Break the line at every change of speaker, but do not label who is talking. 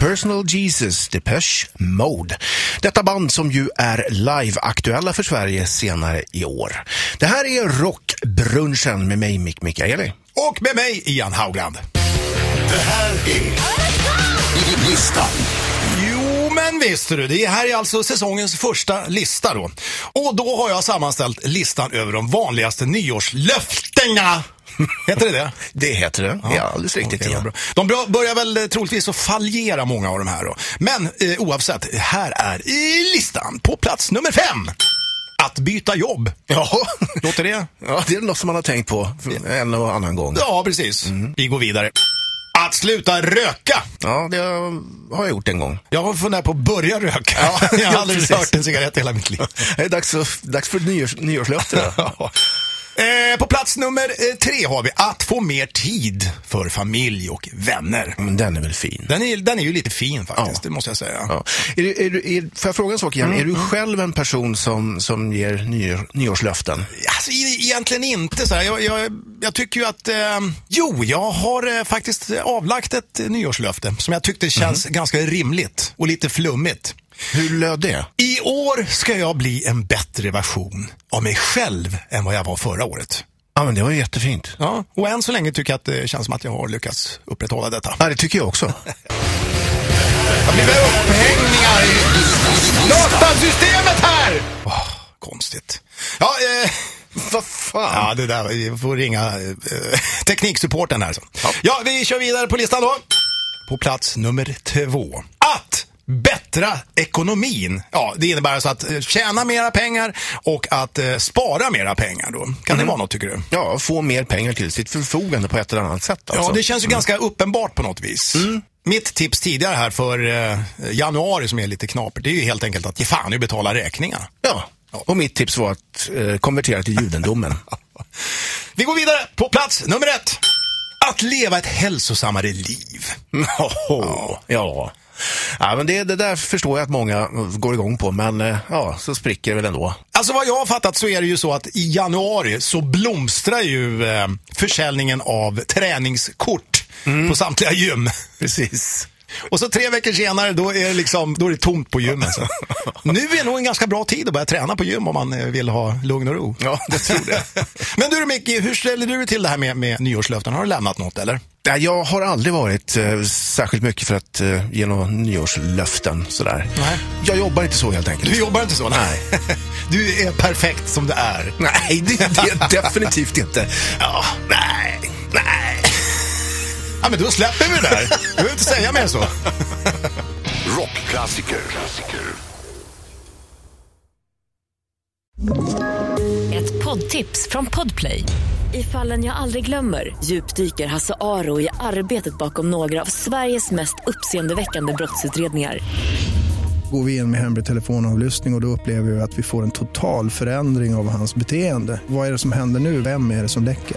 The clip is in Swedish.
Personal Jesus, Depeche Mode. Detta band som ju är live-aktuella för Sverige senare i år. Det här är Rockbrunchen med mig, Mick Mikaeli.
Och med mig, Ian Haugland.
Det här är listan.
Jo, men visste du. Det här är alltså säsongens första lista då. Och då har jag sammanställt listan över de vanligaste nyårslöftena. Heter det det?
Det heter det. Ja, alldeles riktigt.
Okej, vad
Ian.
bra. De bra- börjar väl eh, troligtvis att fallera många av de här då. Men eh, oavsett, här är i listan på plats nummer fem. Att byta jobb.
Ja.
Låter det?
ja, det är något som man har tänkt på en och annan gång.
Ja, precis.
Mm.
Vi går vidare. Att sluta röka.
Ja, det har jag gjort en gång.
Jag har funderat på att börja röka.
Ja,
jag har
ja,
aldrig
precis.
rört en cigarett i hela mitt liv.
Det är dags, för- dags för ett nyårs, nyårslöfte. då.
Eh, på plats nummer eh, tre har vi att få mer tid för familj och vänner.
Men den är väl fin?
Den är, den är ju lite fin faktiskt,
Ja.
det måste jag säga.
Ja. Är, du- är, du- är, får jag fråga en sak igen? är du själv en person som, som ger nyår, nyårslöften?
Alltså, e- egentligen inte så här. Jag, jag, jag tycker ju att... Eh, jo, jag har eh, faktiskt avlagt ett eh, nyårslöfte som jag tyckte känns ganska rimligt och lite flummigt.
Hur löd det?
I år ska jag bli en bättre version av mig själv än vad jag var förra året.
Ja, men det var ju jättefint.
Ja, och än så länge tycker jag att det känns som att jag har lyckats upprätthålla detta.
Ja, det tycker jag också.
Jag blir upphängningar i datasystemet här! Åh, konstigt. Ja, eh,
Vad fan?
ja, det där, vi får ringa eh, tekniksupporten här. Så. Ja, vi kör vidare på listan då. På plats nummer två. Att bättra ekonomin. Ja, det innebär alltså att eh, tjäna mera pengar och att eh, spara mera pengar då. Kan det vara något tycker du?
Ja, få mer pengar till sitt förfogande på ett eller annat sätt. Alltså.
Ja, det känns ju ganska uppenbart på något vis. mm. Mitt tips tidigare här för eh, januari som är lite knapert, det är ju helt enkelt att ge fan i att betala räkningarna.
Ja. Och mitt tips var att eh, konvertera till judendomen.
Vi går vidare på plats nummer ett. Att leva ett hälsosammare liv.
ja. ja. Ja, men det, det där förstår jag att många går igång på, men eh, ja, så spricker det väl ändå.
Alltså vad jag har fattat så är det ju så att i januari så blomstrar ju eh, försäljningen av träningskort
Mm.
på samtliga gym.
Precis.
Och så tre veckor senare då är det, liksom, då är det tomt på gymmen. Så. Nu är nog en ganska bra tid att börja träna på gym om man eh, vill ha lugn och ro.
Ja, det tror jag.
Men du Micke, hur ställer du dig till det här med, med nyårslöften? Har du lämnat något eller?
Ja, Jag har aldrig varit eh, särskilt mycket för att eh, ge några nyårslöften sådär.
Nej.
Jag jobbar inte så helt enkelt.
Du jobbar inte så? Nej. Du är perfekt som du är.
Nej, det, det är jag definitivt inte.
Ja, nej, nej. Ja, men då släpper vi det där. Du behöver inte säga mer än så.
Rockklassiker.
Ett poddtips från Podplay. I fallen jag aldrig glömmer djupdyker Hasse Aro i arbetet bakom några av Sveriges mest uppseendeväckande brottsutredningar.
går vi in med hemlig telefonavlyssning och, och då upplever vi att vi får en total förändring av hans beteende. Vad är det som händer nu? Vem är det som läcker?